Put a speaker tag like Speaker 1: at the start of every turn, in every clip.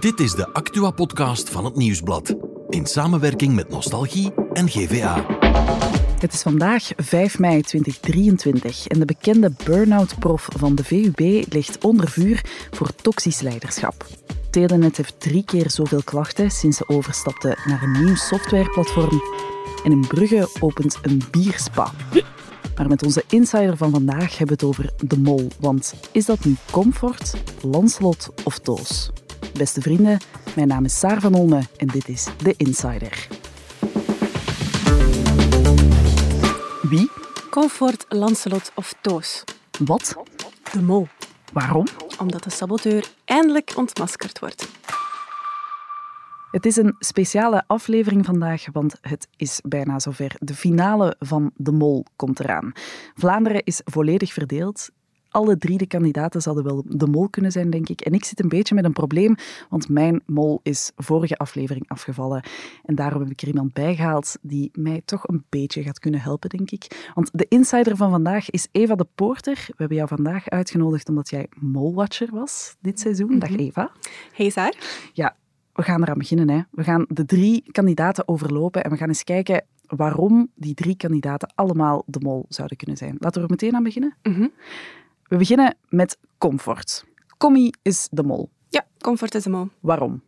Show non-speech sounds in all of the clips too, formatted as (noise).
Speaker 1: Dit is de Actua-podcast van het Nieuwsblad. In samenwerking met Nostalgie en GVA.
Speaker 2: Het is vandaag 5 mei 2023 en de bekende burn-out-prof van de VUB ligt onder vuur voor toxisch leiderschap. Telenet heeft drie keer zoveel klachten sinds ze overstapte naar een nieuw softwareplatform. En in Brugge opent een bierspa. Maar met onze insider van vandaag hebben we het over de mol. Want is dat nu Comfort, Lanslot of Toos? Beste vrienden, mijn naam is Saar van Olme en dit is De Insider. Wie?
Speaker 3: Comfort, Lancelot of Toos.
Speaker 2: Wat?
Speaker 3: De mol.
Speaker 2: Waarom?
Speaker 3: Omdat de saboteur eindelijk ontmaskerd wordt.
Speaker 2: Het is een speciale aflevering vandaag, want het is bijna zover. De finale van De Mol komt eraan. Vlaanderen is volledig verdeeld. Alle drie de kandidaten zouden wel de mol kunnen zijn, denk ik. En ik zit een beetje met een probleem, want mijn mol is vorige aflevering afgevallen. En daarom heb ik er iemand bij gehaald die mij toch een beetje gaat kunnen helpen, denk ik. Want de insider van vandaag is Eva de Poorter. We hebben jou vandaag uitgenodigd omdat jij molwatcher was dit seizoen. Dag
Speaker 3: Mhm.
Speaker 2: Eva.
Speaker 3: Hey Saar.
Speaker 2: We gaan eraan beginnen. Hè. We gaan de drie kandidaten overlopen en we gaan eens kijken waarom die drie kandidaten allemaal de mol zouden kunnen zijn. Laten we er meteen aan beginnen.
Speaker 3: Mhm.
Speaker 2: We beginnen met Comfort. Commie is de mol.
Speaker 3: Ja, Comfort is de mol.
Speaker 2: Waarom?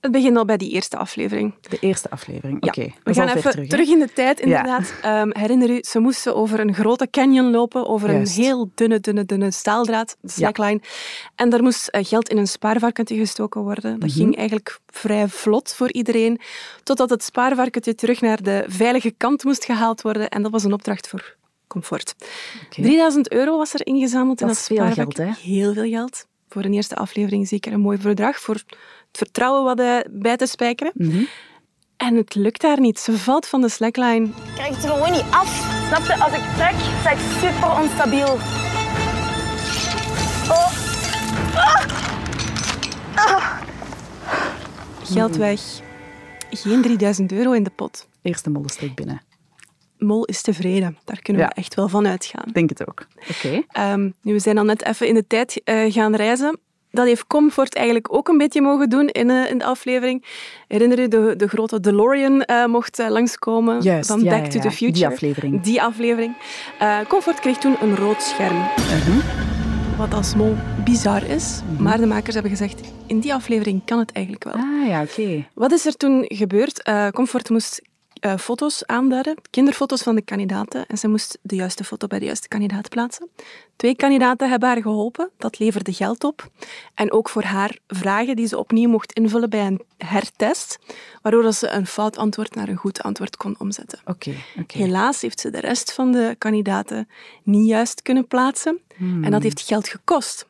Speaker 3: Het begint al bij die eerste aflevering.
Speaker 2: De eerste aflevering.
Speaker 3: Ja,
Speaker 2: Oké,
Speaker 3: We
Speaker 2: dat is
Speaker 3: gaan
Speaker 2: al ver
Speaker 3: even terug,
Speaker 2: terug. hè?
Speaker 3: in de tijd,
Speaker 2: Ja.
Speaker 3: inderdaad. Ehm, herinner u, ze moesten over een grote canyon lopen, over
Speaker 2: Juist.
Speaker 3: een heel dunne, dunne, dunne staaldraad, de slackline. En daar moest eh, geld in een spaarvarkentje gestoken worden. Dat
Speaker 2: Mhm.
Speaker 3: ging eigenlijk vrij vlot voor iedereen, totdat het spaarvarkentje terug naar de veilige kant moest gehaald worden. En dat was een opdracht voor comfort.
Speaker 2: Oké.
Speaker 3: 3000 euro was er ingezameld
Speaker 2: Dat
Speaker 3: in
Speaker 2: is veel
Speaker 3: dat spaarvak.
Speaker 2: geld, hè?
Speaker 3: Heel veel geld. Voor een eerste aflevering zeker een mooi bedrag. Voor het vertrouwen wat eh, bij te spijkeren.
Speaker 2: Mhm.
Speaker 3: En het lukt daar niet. Ze valt van de slackline.
Speaker 4: krijg het er gewoon niet af. Snap je? Als ik trek, sta ik super onstabiel. Oh.
Speaker 3: Geld
Speaker 2: Mhm.
Speaker 3: weg. Geen 3000 euro in de pot.
Speaker 2: Eerste mollenstreek binnen.
Speaker 3: Mol is tevreden. Daar kunnen
Speaker 2: Ja.
Speaker 3: we echt wel van uitgaan.
Speaker 2: Ik denk het ook. Oké.
Speaker 3: Ehm, nu, we zijn al net even in de tijd eh, gaan reizen. Dat heeft Comfort eigenlijk ook een beetje mogen doen in, eh, in de aflevering. Herinner je, de, de grote DeLorean eh, mocht eh, langskomen
Speaker 2: Juist.
Speaker 3: van
Speaker 2: ja,
Speaker 3: Back
Speaker 2: ja,
Speaker 3: to
Speaker 2: ja.
Speaker 3: the Future.
Speaker 2: Die aflevering.
Speaker 3: Die aflevering. Eh, Comfort kreeg toen een rood scherm.
Speaker 2: Mhm.
Speaker 3: Wat als mol bizar is. Maar de makers hebben gezegd, in die aflevering kan het eigenlijk wel.
Speaker 2: Ah ja, oké.
Speaker 3: Wat is er toen gebeurd? Eh, Comfort moest eh, foto's aanduiden, kinderfoto's van de kandidaten. En ze moest de juiste foto bij de juiste kandidaat plaatsen. Twee kandidaten hebben haar geholpen. Dat leverde geld op. En ook voor haar vragen die ze opnieuw mocht invullen bij een hertest. Waardoor dat ze een fout antwoord naar een goed antwoord kon omzetten.
Speaker 2: Oké, oké.
Speaker 3: Helaas heeft ze de rest van de kandidaten niet juist kunnen plaatsen.
Speaker 2: Hmm.
Speaker 3: En dat heeft geld gekost.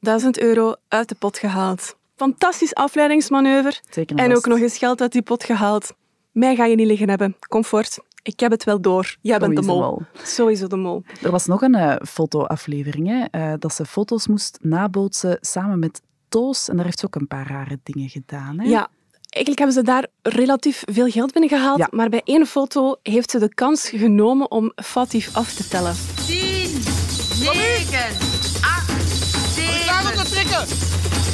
Speaker 3: 1000 euro uit de pot gehaald. Fantastisch afleidingsmanoeuvre.
Speaker 2: Teken
Speaker 3: En ook
Speaker 2: vast.
Speaker 3: nog eens geld uit die pot gehaald. Mij ga je niet liggen hebben. Comfort. Ik heb het wel door. Jij bent de
Speaker 2: Sowieso
Speaker 3: mol.
Speaker 2: wel.
Speaker 3: Sowieso de mol.
Speaker 2: Er was nog een eh, fotoaflevering, hè, eh, dat ze foto's moest nabootsen samen met Toos. En daar heeft ze ook een paar rare dingen gedaan. Hè?
Speaker 3: Ja, eigenlijk hebben ze daar relatief veel geld binnen gehaald.
Speaker 2: Ja.
Speaker 3: Maar bij één foto heeft ze de kans genomen om foutief af te tellen.
Speaker 5: 10, 9, 8, 7,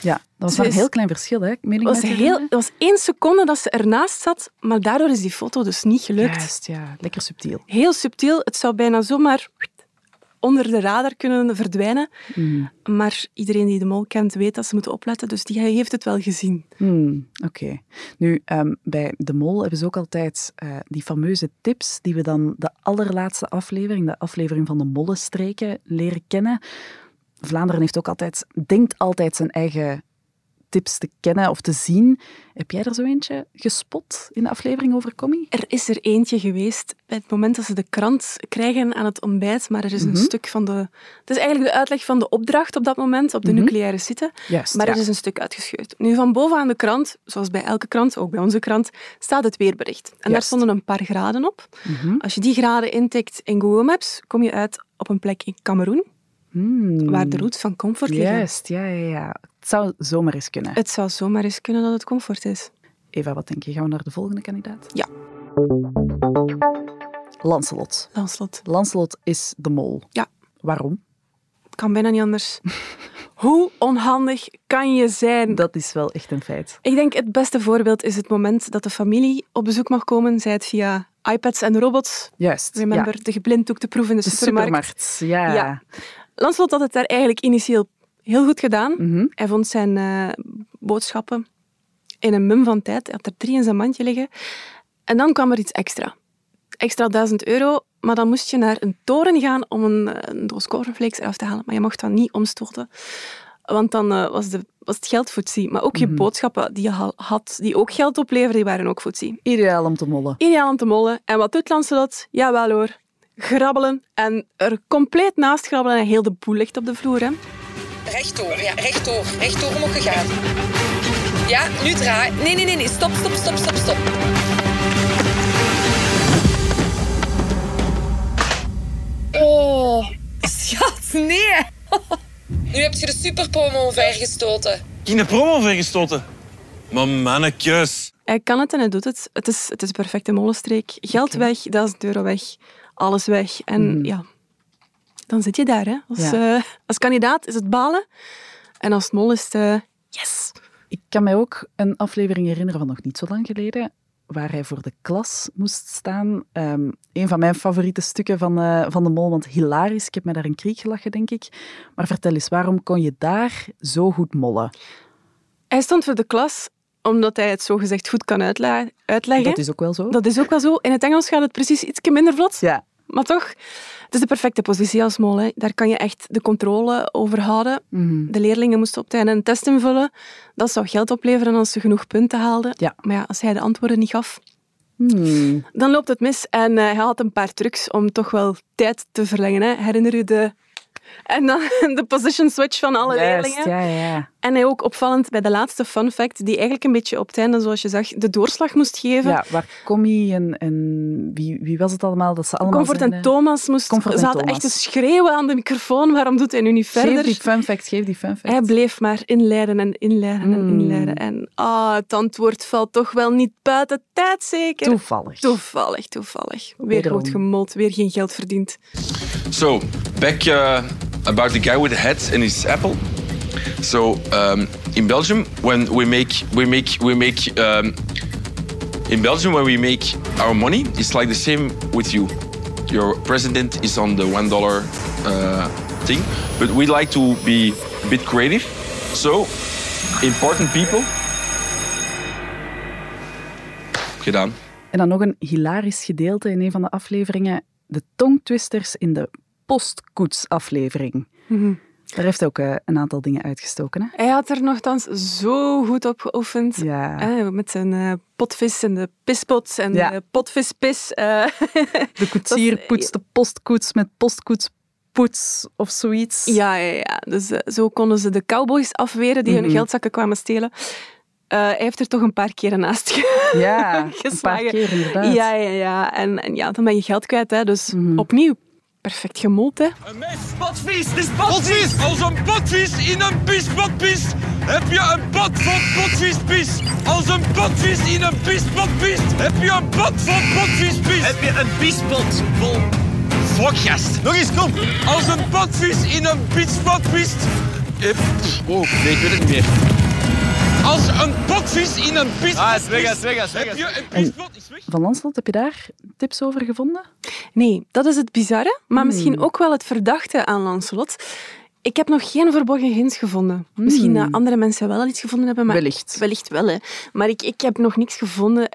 Speaker 2: Ja, dat was
Speaker 3: Ze
Speaker 2: maar een
Speaker 3: is-
Speaker 2: heel klein verschil, hè? Meen ik
Speaker 3: Het was,
Speaker 2: mij te
Speaker 3: heel,
Speaker 2: herinneren?
Speaker 3: het was één seconde dat ze ernaast zat, maar daardoor is die foto dus niet gelukt.
Speaker 2: Juist, ja. Lekker subtiel.
Speaker 3: Heel subtiel. Het zou bijna zomaar onder de radar kunnen verdwijnen.
Speaker 2: Mm.
Speaker 3: Maar iedereen die de mol kent, weet dat ze moeten opletten. Dus die heeft het wel gezien.
Speaker 2: Hmm, Oké. Nu, ehm, bij De Mol hebben ze ook altijd eh, die fameuze tips die we dan de allerlaatste aflevering, de aflevering van de Mollenstreken, leren kennen. Vlaanderen heeft ook altijd, denkt altijd zijn eigen tips te kennen of te zien. Heb jij er zo eentje gespot in de aflevering over Commie?
Speaker 3: Er is er eentje geweest bij het moment dat ze de krant krijgen aan het ontbijt, maar er is een
Speaker 2: Mhm.
Speaker 3: stuk van de... Het is eigenlijk de uitleg van de opdracht op dat moment, op de
Speaker 2: Mhm.
Speaker 3: nucleaire site,
Speaker 2: Juist,
Speaker 3: maar
Speaker 2: ja.
Speaker 3: er is een stuk uitgescheurd. Nu, van boven aan de krant, zoals bij elke krant, ook bij onze krant, staat het weerbericht. En daar
Speaker 2: Juist.
Speaker 3: stonden een paar graden op.
Speaker 2: Mhm.
Speaker 3: Als je die graden intikt in Google Maps, kom je uit op een plek in Cameroen,
Speaker 2: Hmm.
Speaker 3: waar de roots van comfort liggen.
Speaker 2: Juist, ja, ja, ja. Het zou zomaar eens kunnen.
Speaker 3: Het zou zomaar eens kunnen dat het comfort is.
Speaker 2: Eva, wat denk je? Gaan we naar de volgende kandidaat? Lancelot.
Speaker 3: Lanslot.
Speaker 2: Lancelot is de mol.
Speaker 3: Ja.
Speaker 2: Waarom?
Speaker 3: Het kan bijna niet anders. (laughs) Hoe onhandig kan je zijn?
Speaker 2: Dat is wel echt een feit.
Speaker 3: Ik denk het beste voorbeeld is het moment dat de familie op bezoek mag komen, zij het via iPads en robots.
Speaker 2: Juist. ja.
Speaker 3: Remember, de geblinddoekte proef in de,
Speaker 2: De
Speaker 3: supermarkt.
Speaker 2: supermarkt. Ja.
Speaker 3: Ja. Lanslot had het daar eigenlijk initieel heel goed gedaan.
Speaker 2: Mhm.
Speaker 3: Hij vond zijn eh, boodschappen in een mum van tijd. Hij had er drie in zijn mandje liggen. En dan kwam er iets extra. Extra 1000 euro, maar dan moest je naar een toren gaan om een, eh, een doos cornflakes eraf te halen. Maar je mocht dat niet omstoten, want dan eh, was, de, was het geld foetsie. Maar ook je boodschappen die je ha- had, die ook geld opleverden, die waren ook foetsie.
Speaker 2: Ideaal om te mollen.
Speaker 3: Ideaal om te mollen. En wat doet Lancelot? Jawel hoor, grabbelen. En er compleet naast grabbelen en heel de boel ligt op de vloer. Hè.
Speaker 6: Rechtdoor, ja, rechtdoor. Rechtdoor moet je gaan. Ja, nu draai. Nee, nee, nee, nee. Stop, stop, stop, stop, stop. Oh, schat, nee. Nu heb je de superpromo vergestoten.
Speaker 7: in de promo vergestoten. Maar mannetjes.
Speaker 3: Hij kan het en hij doet het. Het is, het is perfecte molenstreek. Geld weg, 1000 euro weg, alles weg. En
Speaker 2: Mm.
Speaker 3: ja, dan zit je daar. Hè. Als, eh, als kandidaat is het balen. En als mol is het eh, yes.
Speaker 2: Ik kan mij ook een aflevering herinneren van nog niet zo lang geleden, waar hij voor de klas moest staan. Ehm, een van mijn favoriete stukken van, eh, van de mol, want hilarisch. Ik heb me daar een kriek gelachen, denk ik. Maar vertel eens, waarom kon je daar zo goed mollen?
Speaker 3: Hij stond voor de klas omdat hij het zogezegd goed kan uitla- uitleggen.
Speaker 2: Dat is ook wel zo.
Speaker 3: Dat is ook wel zo. In het Engels gaat het precies iets minder vlot.
Speaker 2: Ja.
Speaker 3: Maar toch, het is de perfecte positie als mol. Hè. Daar kan je echt de controle over houden.
Speaker 2: Mhm.
Speaker 3: De leerlingen moesten op het einde een test invullen. Dat zou geld opleveren als ze genoeg punten haalden.
Speaker 2: Ja.
Speaker 3: Maar ja, als hij de antwoorden niet gaf,
Speaker 2: Hmm.
Speaker 3: dan loopt het mis. En eh, hij had een paar trucs om toch wel tijd te verlengen. Hè. Herinner u de... En dan (laughs) de position switch van alle
Speaker 2: Juist,
Speaker 3: leerlingen.
Speaker 2: ja, ja, ja.
Speaker 3: En hij ook opvallend bij de laatste fun fact, die eigenlijk een beetje op het einde, zoals je zag, de doorslag moest geven.
Speaker 2: Ja, waar Commie en, en wie, wie was het allemaal? Dat ze allemaal
Speaker 3: Comfort
Speaker 2: zijn,
Speaker 3: en
Speaker 2: eh,
Speaker 3: Thomas moest,
Speaker 2: Comfort en
Speaker 3: ze hadden
Speaker 2: Thomas.
Speaker 3: echt te schreeuwen aan de microfoon. Waarom doet hij nu niet verder?
Speaker 2: Geef die fun fact, geef die fun fact.
Speaker 3: Hij bleef maar inleiden en inleiden en
Speaker 2: Mm.
Speaker 3: inleiden. En ah, het antwoord valt toch wel niet buiten tijd, zeker?
Speaker 2: Toevallig.
Speaker 3: Toevallig, toevallig. Weer
Speaker 2: Wederom.
Speaker 3: goed gemold, weer geen geld verdiend.
Speaker 8: So, back uh, about the guy with the hat and his apple. So, um, in Belgium, when we make, we make, we make, um, in Belgium, when we make our money, it's like the same with you. Your president is on the one dollar uh, thing, but we like to be a bit creative. So, important people. Gedaan.
Speaker 2: En dan nog een hilarisch gedeelte in een van de afleveringen. De tongtwisters in de postkoetsaflevering.
Speaker 3: Mhm.
Speaker 2: Daar heeft hij ook eh, een aantal dingen uitgestoken. Hè?
Speaker 3: Hij had er nogthans zo goed op geoefend.
Speaker 2: Ja.
Speaker 3: Eh, met zijn eh, potvis en de pispot en
Speaker 2: Ja.
Speaker 3: de potvispis. eh. (laughs)
Speaker 2: De koetsier
Speaker 3: Dat is-
Speaker 2: poetst de postkoets met postkoetspoets of zoiets.
Speaker 3: ja, ja, ja. Dus eh, zo konden ze de cowboys afweren die hun geldzakken kwamen stelen. Eh, hij heeft er toch een paar keren naast ge-
Speaker 2: Ja,
Speaker 3: (laughs)
Speaker 2: een paar
Speaker 3: geslagen.
Speaker 2: keer inderdaad.
Speaker 3: Ja, ja, ja. En, en ja, dan ben je geld kwijt, hè. Dus
Speaker 2: Mhm.
Speaker 3: opnieuw, perfect gemold, hè.
Speaker 7: Een mes. Potvies, dit is potvies. Als een potvies in een piespotpies heb je een pot van potviespis. Als een potvies in een piespotpies heb je een pot van potviespis. Heb je een piespot vol fokgast. Nog eens, kom. Als een potvies in een piespotpies...
Speaker 8: Eh, pff, Oh, nee, ik weet het niet meer.
Speaker 7: Als een potvies in een piespotpies...
Speaker 8: Ah, het is weg, het is weg, het is weg,
Speaker 7: Heb
Speaker 8: het is
Speaker 7: je een piespot... Is weg.
Speaker 2: Van Lanslot, heb je daar tips over gevonden?
Speaker 3: Nee, dat is het bizarre, maar
Speaker 2: Hmm.
Speaker 3: misschien ook wel het verdachte aan Lancelot. Ik heb nog geen verborgen hints gevonden. Misschien dat andere mensen wel al iets gevonden hebben, maar...
Speaker 2: Hmm. Wellicht.
Speaker 3: Wellicht wel, hè. Maar ik, ik heb nog niks gevonden.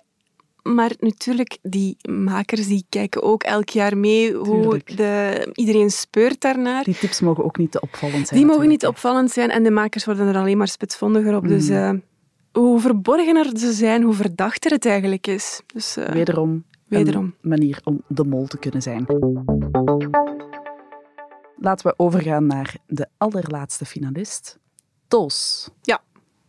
Speaker 3: Maar natuurlijk, die makers die kijken ook elk jaar mee hoe
Speaker 2: Tuurlijk.
Speaker 3: de, iedereen speurt daarnaar.
Speaker 2: Die tips mogen ook niet te opvallend zijn.
Speaker 3: Die mogen niet
Speaker 2: natuurlijk,
Speaker 3: opvallend zijn en de makers worden er alleen maar spitsvondiger op. Dus eh,
Speaker 2: Hmm.
Speaker 3: hoe verborgener ze zijn, hoe verdachter het eigenlijk is. Dus eh,
Speaker 2: hè. Wederom,
Speaker 3: Wederom.
Speaker 2: een manier om de mol te kunnen zijn. Laten we overgaan naar de allerlaatste finalist. Toos.
Speaker 3: Ja.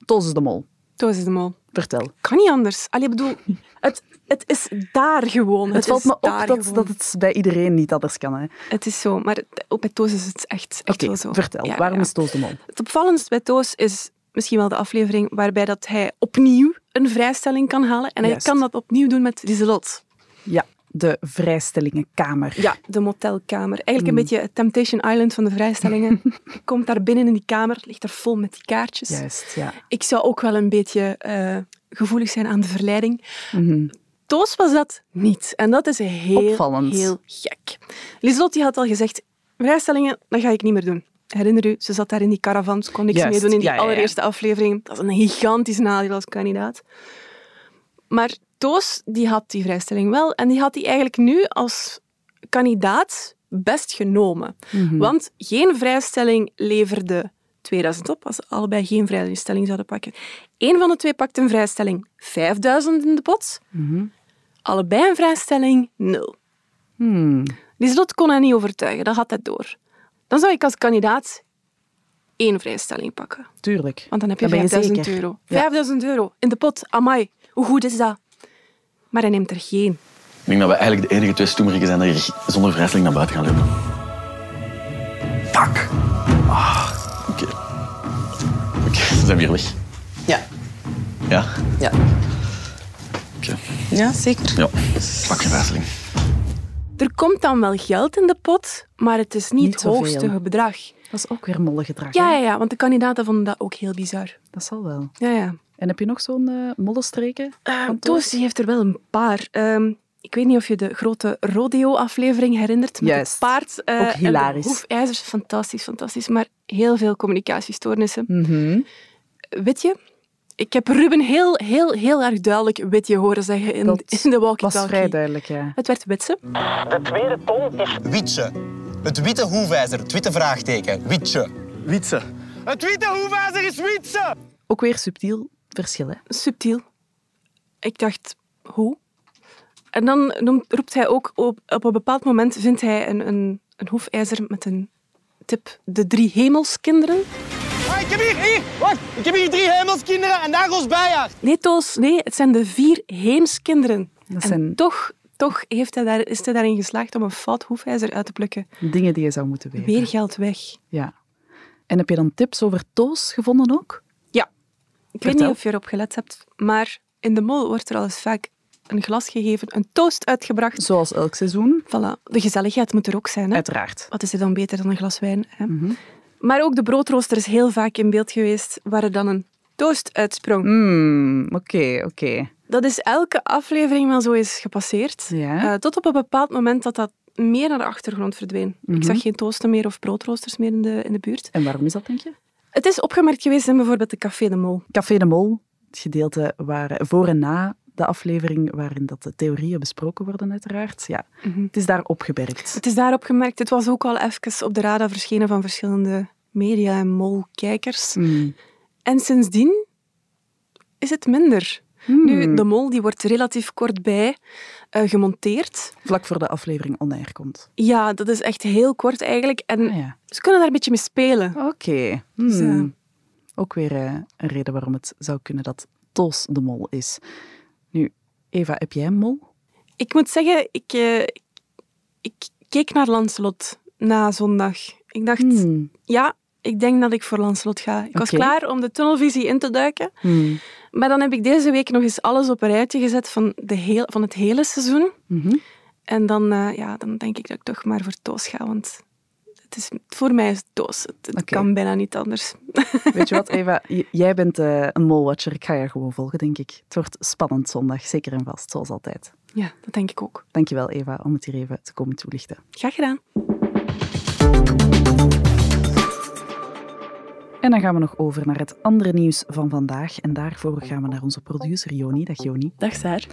Speaker 2: Toos is de mol.
Speaker 3: Toos is de mol.
Speaker 2: Vertel.
Speaker 3: Kan niet anders. Allee, ik
Speaker 2: (laughs)
Speaker 3: bedoel, het, het is daar gewoon.
Speaker 2: Het, valt
Speaker 3: is
Speaker 2: me op
Speaker 3: daar
Speaker 2: dat,
Speaker 3: gewoon.
Speaker 2: dat het bij iedereen niet anders kan. hè.
Speaker 3: Het is zo, maar het- ook bij Toos is het echt, echt
Speaker 2: Oké,
Speaker 3: wel zo.
Speaker 2: vertel.
Speaker 3: Ja,
Speaker 2: waarom
Speaker 3: ja.
Speaker 2: is Toos de mol?
Speaker 3: Het opvallendst bij Toos is misschien wel de aflevering waarbij dat hij opnieuw een vrijstelling kan halen. En hij
Speaker 2: Juist.
Speaker 3: kan dat opnieuw doen met Lieselot.
Speaker 2: Ja. de vrijstellingenkamer.
Speaker 3: Ja, de motelkamer. Eigenlijk een
Speaker 2: Mm.
Speaker 3: beetje het Temptation Island van de
Speaker 2: (laughs)
Speaker 3: vrijstellingen. Je Komt daar binnen in die kamer, ligt er vol met die kaartjes.
Speaker 2: Juist, ja.
Speaker 3: Ik zou ook wel een beetje eh, gevoelig zijn aan de verleiding.
Speaker 2: Mhm.
Speaker 3: Toos was dat niet. En dat is heel,
Speaker 2: Opvallend.
Speaker 3: heel gek. Lieslotte die had al gezegd, vrijstellingen, dat ga ik niet meer doen. Herinner u, ze zat daar in die caravan, ze kon niks
Speaker 2: Juist,
Speaker 3: meer doen in die
Speaker 2: ja, ja, ja.
Speaker 3: allereerste aflevering. Dat is een gigantisch nadeel als kandidaat. Maar Toos die had die vrijstelling wel en die had die eigenlijk nu als kandidaat best genomen.
Speaker 2: Mhm.
Speaker 3: Want geen vrijstelling leverde 2000 op als ze allebei geen vrijstelling zouden pakken. Eén van de twee pakte een vrijstelling 5000 in de pot.
Speaker 2: Mhm.
Speaker 3: Allebei een vrijstelling 0.
Speaker 2: Hmm.
Speaker 3: Lieselot kon haar niet overtuigen, dat had hij door. Dan zou ik als kandidaat één vrijstelling pakken.
Speaker 2: Tuurlijk.
Speaker 3: Want dan heb je
Speaker 2: ben
Speaker 3: 5000
Speaker 2: zeker.
Speaker 3: euro.
Speaker 2: Ja.
Speaker 3: 5000 euro in de pot, amai, hoe goed is dat? Maar hij neemt er geen.
Speaker 9: Ik denk dat we eigenlijk de enige twee stoemeriken zijn die er zonder vrijstelling naar buiten gaan lopen. Fuck. Ah, oké. Oké, ze zijn weer weg.
Speaker 6: Ja.
Speaker 9: Ja?
Speaker 6: Ja.
Speaker 9: Oké.
Speaker 6: Ja, zeker.
Speaker 9: Ja. Pak je vrijstelling.
Speaker 3: Er komt dan wel geld in de pot, maar het is niet,
Speaker 2: Niet
Speaker 3: het
Speaker 2: zoveel.
Speaker 3: hoogste bedrag.
Speaker 2: Dat is ook weer mollig gedrag.
Speaker 3: Ja,
Speaker 2: hè?
Speaker 3: ja, ja, want de kandidaten vonden dat ook heel bizar.
Speaker 2: Dat zal wel.
Speaker 3: Ja, ja.
Speaker 2: En heb je nog zo'n eh moddelstreken?
Speaker 3: Ehm,
Speaker 2: van
Speaker 3: Toos die heeft er wel een paar. Ehm, ik weet niet of je de grote rodeo-aflevering herinnert. Met
Speaker 2: Juist.
Speaker 3: het paard eh,
Speaker 2: Ook
Speaker 3: en de
Speaker 2: hilarisch.
Speaker 3: hoefijzers. Fantastisch, fantastisch. Maar heel veel communicatiestoornissen.
Speaker 2: Mhm.
Speaker 3: Weet je, ik heb Ruben heel, heel, heel erg duidelijk witje horen zeggen in,
Speaker 2: Dat
Speaker 3: in de
Speaker 2: was vrij
Speaker 3: walkie-talkie.
Speaker 2: duidelijk, ja.
Speaker 3: Het werd witse.
Speaker 10: De tweede ton is Wietse. Het witte hoefijzer, het witte vraagteken. Wietse.
Speaker 9: Wietse.
Speaker 10: Het witte hoefijzer is Wietse!
Speaker 2: Ook weer subtiel verschil, hè?
Speaker 3: subtiel. Ik dacht, hoe? En dan noemt- roept hij ook op, op een bepaald moment vindt hij een, een, een hoefijzer met een tip. De drie hemelskinderen.
Speaker 10: Ah, ik heb hier, hier, wacht. Ik heb hier drie hemelskinderen en daar Roos Bijaard.
Speaker 3: Nee, Toos, nee, het zijn de vier heemskinderen.
Speaker 2: Dat
Speaker 3: En
Speaker 2: zijn
Speaker 3: toch, toch heeft hij daar, is hij daarin geslaagd om een fout hoefijzer uit te plukken.
Speaker 2: dingen die je zou moeten weten.
Speaker 3: Weer geld weg.
Speaker 2: Ja. En heb je dan tips over Toos gevonden ook?
Speaker 3: Ik weet
Speaker 2: Vertel.
Speaker 3: niet of je erop gelet hebt, maar in de mol wordt er al eens vaak een glas gegeven, een toast uitgebracht.
Speaker 2: Zoals elk seizoen,
Speaker 3: Voilà, de gezelligheid moet er ook zijn. Hè?
Speaker 2: uiteraard. Mhm.
Speaker 3: wat is er dan beter dan een glas wijn? Hè? Maar ook de broodrooster is heel vaak in beeld geweest, waar er dan een toast uitsprong.
Speaker 2: Hmm, oké, oké.
Speaker 3: Dat is elke aflevering wel zo eens gepasseerd.
Speaker 2: Ja.
Speaker 3: Eh, tot op een bepaald moment dat dat meer naar de achtergrond verdween.
Speaker 2: Mhm.
Speaker 3: Ik zag geen toasten meer of broodroosters meer in de, in de buurt.
Speaker 2: En waarom is dat, denk je?
Speaker 3: Het is opgemerkt geweest in bijvoorbeeld de Café de Mol.
Speaker 2: Café de Mol, het gedeelte waar voor en na de aflevering waarin dat de theorieën besproken worden, uiteraard. Ja, het is daar opgewerkt.
Speaker 3: Het is daarop gemerkt. Het was ook al even op de radar verschenen van verschillende media- en
Speaker 2: (laughs)
Speaker 3: molkijkers.
Speaker 2: Hmm.
Speaker 3: En sindsdien is het minder.
Speaker 2: Hmm.
Speaker 3: Nu, de mol die wordt relatief kort bij eh, gemonteerd.
Speaker 2: Vlak voor de aflevering onair komt.
Speaker 3: Ja, dat is echt heel kort eigenlijk. En
Speaker 2: Ah ja,
Speaker 3: ze kunnen daar een beetje mee spelen.
Speaker 2: oké.
Speaker 3: Dus, eh,
Speaker 2: Hmm. Ook weer eh, een reden waarom het zou kunnen dat Toos de Mol is. Nu, Eva, heb jij een mol?
Speaker 3: ik moet zeggen, ik, eh, ik keek naar Lancelot na zondag. Ik dacht,
Speaker 2: Hmm.
Speaker 3: ja, ik denk dat ik voor Lancelot ga. Ik was
Speaker 2: Oké.
Speaker 3: klaar om de tunnelvisie in te duiken.
Speaker 2: Hmm.
Speaker 3: Maar dan heb ik deze week nog eens alles op een rijtje gezet van, de heel, van het hele seizoen.
Speaker 2: Mhm.
Speaker 3: En dan, eh, ja, dan denk ik dat ik toch maar voor Toos ga, want het is, voor mij is het Toos. Het, het
Speaker 2: Oké.
Speaker 3: kan bijna niet anders. (laughs)
Speaker 2: Weet je wat, Eva? (laughs) J- Jij bent eh, een molwatcher. Ik ga je gewoon volgen, denk ik. Het wordt spannend zondag, zeker en vast, zoals altijd.
Speaker 3: Ja, dat denk ik ook.
Speaker 2: Dankjewel, Eva, om het hier even te komen toelichten.
Speaker 3: Graag gedaan.
Speaker 2: En dan gaan we nog over naar het andere nieuws van vandaag. En daarvoor gaan we naar onze producer Joni. Dag Joni.
Speaker 3: Dag Saar.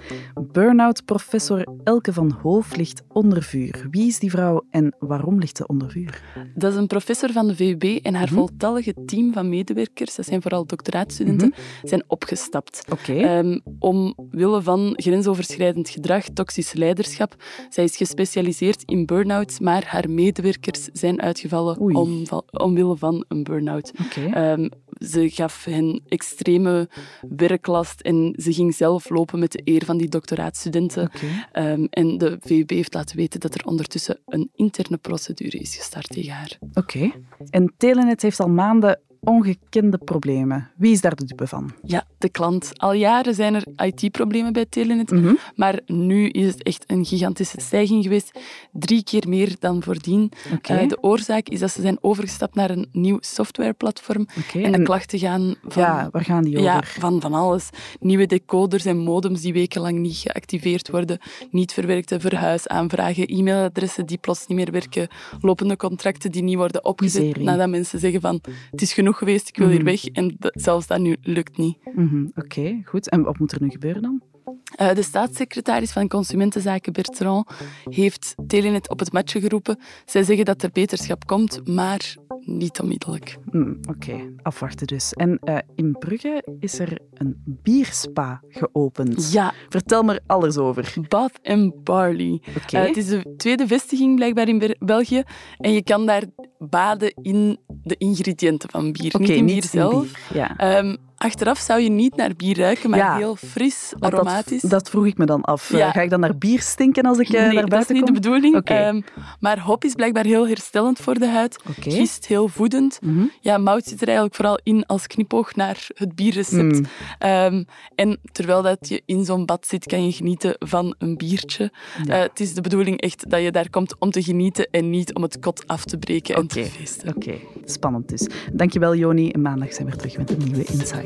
Speaker 2: Burnout-professor Elke van Hoof ligt onder vuur. Wie is die vrouw en waarom ligt ze onder vuur?
Speaker 5: Dat is een professor van de VUB en
Speaker 3: Mhm.
Speaker 5: haar voltallige team van medewerkers, dat zijn vooral doctoraatstudenten,
Speaker 3: Mhm.
Speaker 5: zijn opgestapt.
Speaker 2: Oké.
Speaker 5: Ehm, omwille van grensoverschrijdend gedrag, toxisch leiderschap. Zij is gespecialiseerd in burn-outs, maar haar medewerkers zijn uitgevallen
Speaker 2: Oei.
Speaker 5: om, omwille van een burn-out.
Speaker 2: Oké.
Speaker 5: Ehm, ze gaf hen extreme werklast en ze ging zelf lopen met de eer van die doctoraatstudenten.
Speaker 2: Oké.
Speaker 5: Ehm, en de VUB heeft laten weten dat er ondertussen een interne procedure is gestart tegen haar.
Speaker 2: Oké. En Telenet heeft al maanden ongekende problemen. Wie is daar de dupe van?
Speaker 3: Ja, de klant. Al jaren zijn er IT-problemen bij Telenet,
Speaker 5: Mhm.
Speaker 3: maar nu is het echt een gigantische stijging geweest. Drie keer meer dan voordien.
Speaker 2: Oké.
Speaker 3: Eh, de oorzaak is dat ze zijn overgestapt naar een nieuw softwareplatform
Speaker 2: Oké,
Speaker 3: en de
Speaker 2: en-
Speaker 3: klachten gaan van...
Speaker 2: Ja, waar gaan die over?
Speaker 3: Ja, van van alles. Nieuwe decoders en modems die wekenlang niet geactiveerd worden, niet verwerkte verhuisaanvragen, e-mailadressen die plots niet meer werken, lopende contracten die niet worden opgezet
Speaker 2: Miserie.
Speaker 5: Nou,
Speaker 3: nadat mensen zeggen van het is genoeg geweest, ik wil hier
Speaker 2: Mhm.
Speaker 3: weg. En dat- zelfs dat nu lukt niet.
Speaker 2: Mhm, Oké, goed. En wat moet er nu gebeuren dan?
Speaker 3: Eh, de staatssecretaris van Consumentenzaken Bertrand heeft Telenet op het matje geroepen. Zij zeggen dat er beterschap komt, maar niet onmiddellijk.
Speaker 2: Hmm, Oké, afwachten dus. En eh, in Brugge is er een bierspa geopend.
Speaker 3: Ja.
Speaker 2: Vertel me er alles over.
Speaker 3: Bath and Barley.
Speaker 2: Oké.
Speaker 3: Eh, het is de tweede vestiging blijkbaar in Ber- België. En je kan daar baden in de ingrediënten van bier.
Speaker 2: Oké,
Speaker 3: niet in
Speaker 2: niet
Speaker 3: bier
Speaker 2: in
Speaker 3: zelf.
Speaker 2: bier, ja.
Speaker 3: Ehm, achteraf zou je niet naar bier ruiken, maar
Speaker 2: Ja.
Speaker 3: heel fris,
Speaker 2: Want dat-
Speaker 3: aromatisch.
Speaker 2: Dat, vroeg ik me dan af. Eh,
Speaker 3: Ja.
Speaker 2: Ga ik dan naar bier stinken als ik eh,
Speaker 3: nee,
Speaker 2: naar buiten kom?
Speaker 3: dat is niet de bedoeling.
Speaker 2: Oké.
Speaker 3: Ehm, maar hop is blijkbaar heel herstellend voor de huid.
Speaker 2: Oké.
Speaker 3: Gist heel voedend. Ja, mout zit er eigenlijk vooral in als knipoog naar het bierrecept.
Speaker 2: Mm.
Speaker 3: Ehm, en terwijl dat je in zo'n bad zit, kan je genieten van een biertje.
Speaker 2: Ja.
Speaker 3: Eh, het is de bedoeling echt dat je daar komt om te genieten en niet om het kot af te breken en te feesten.
Speaker 2: Hm, Oké, spannend dus. Dankjewel Joni. En maandag zijn we weer terug met een nieuwe Insider.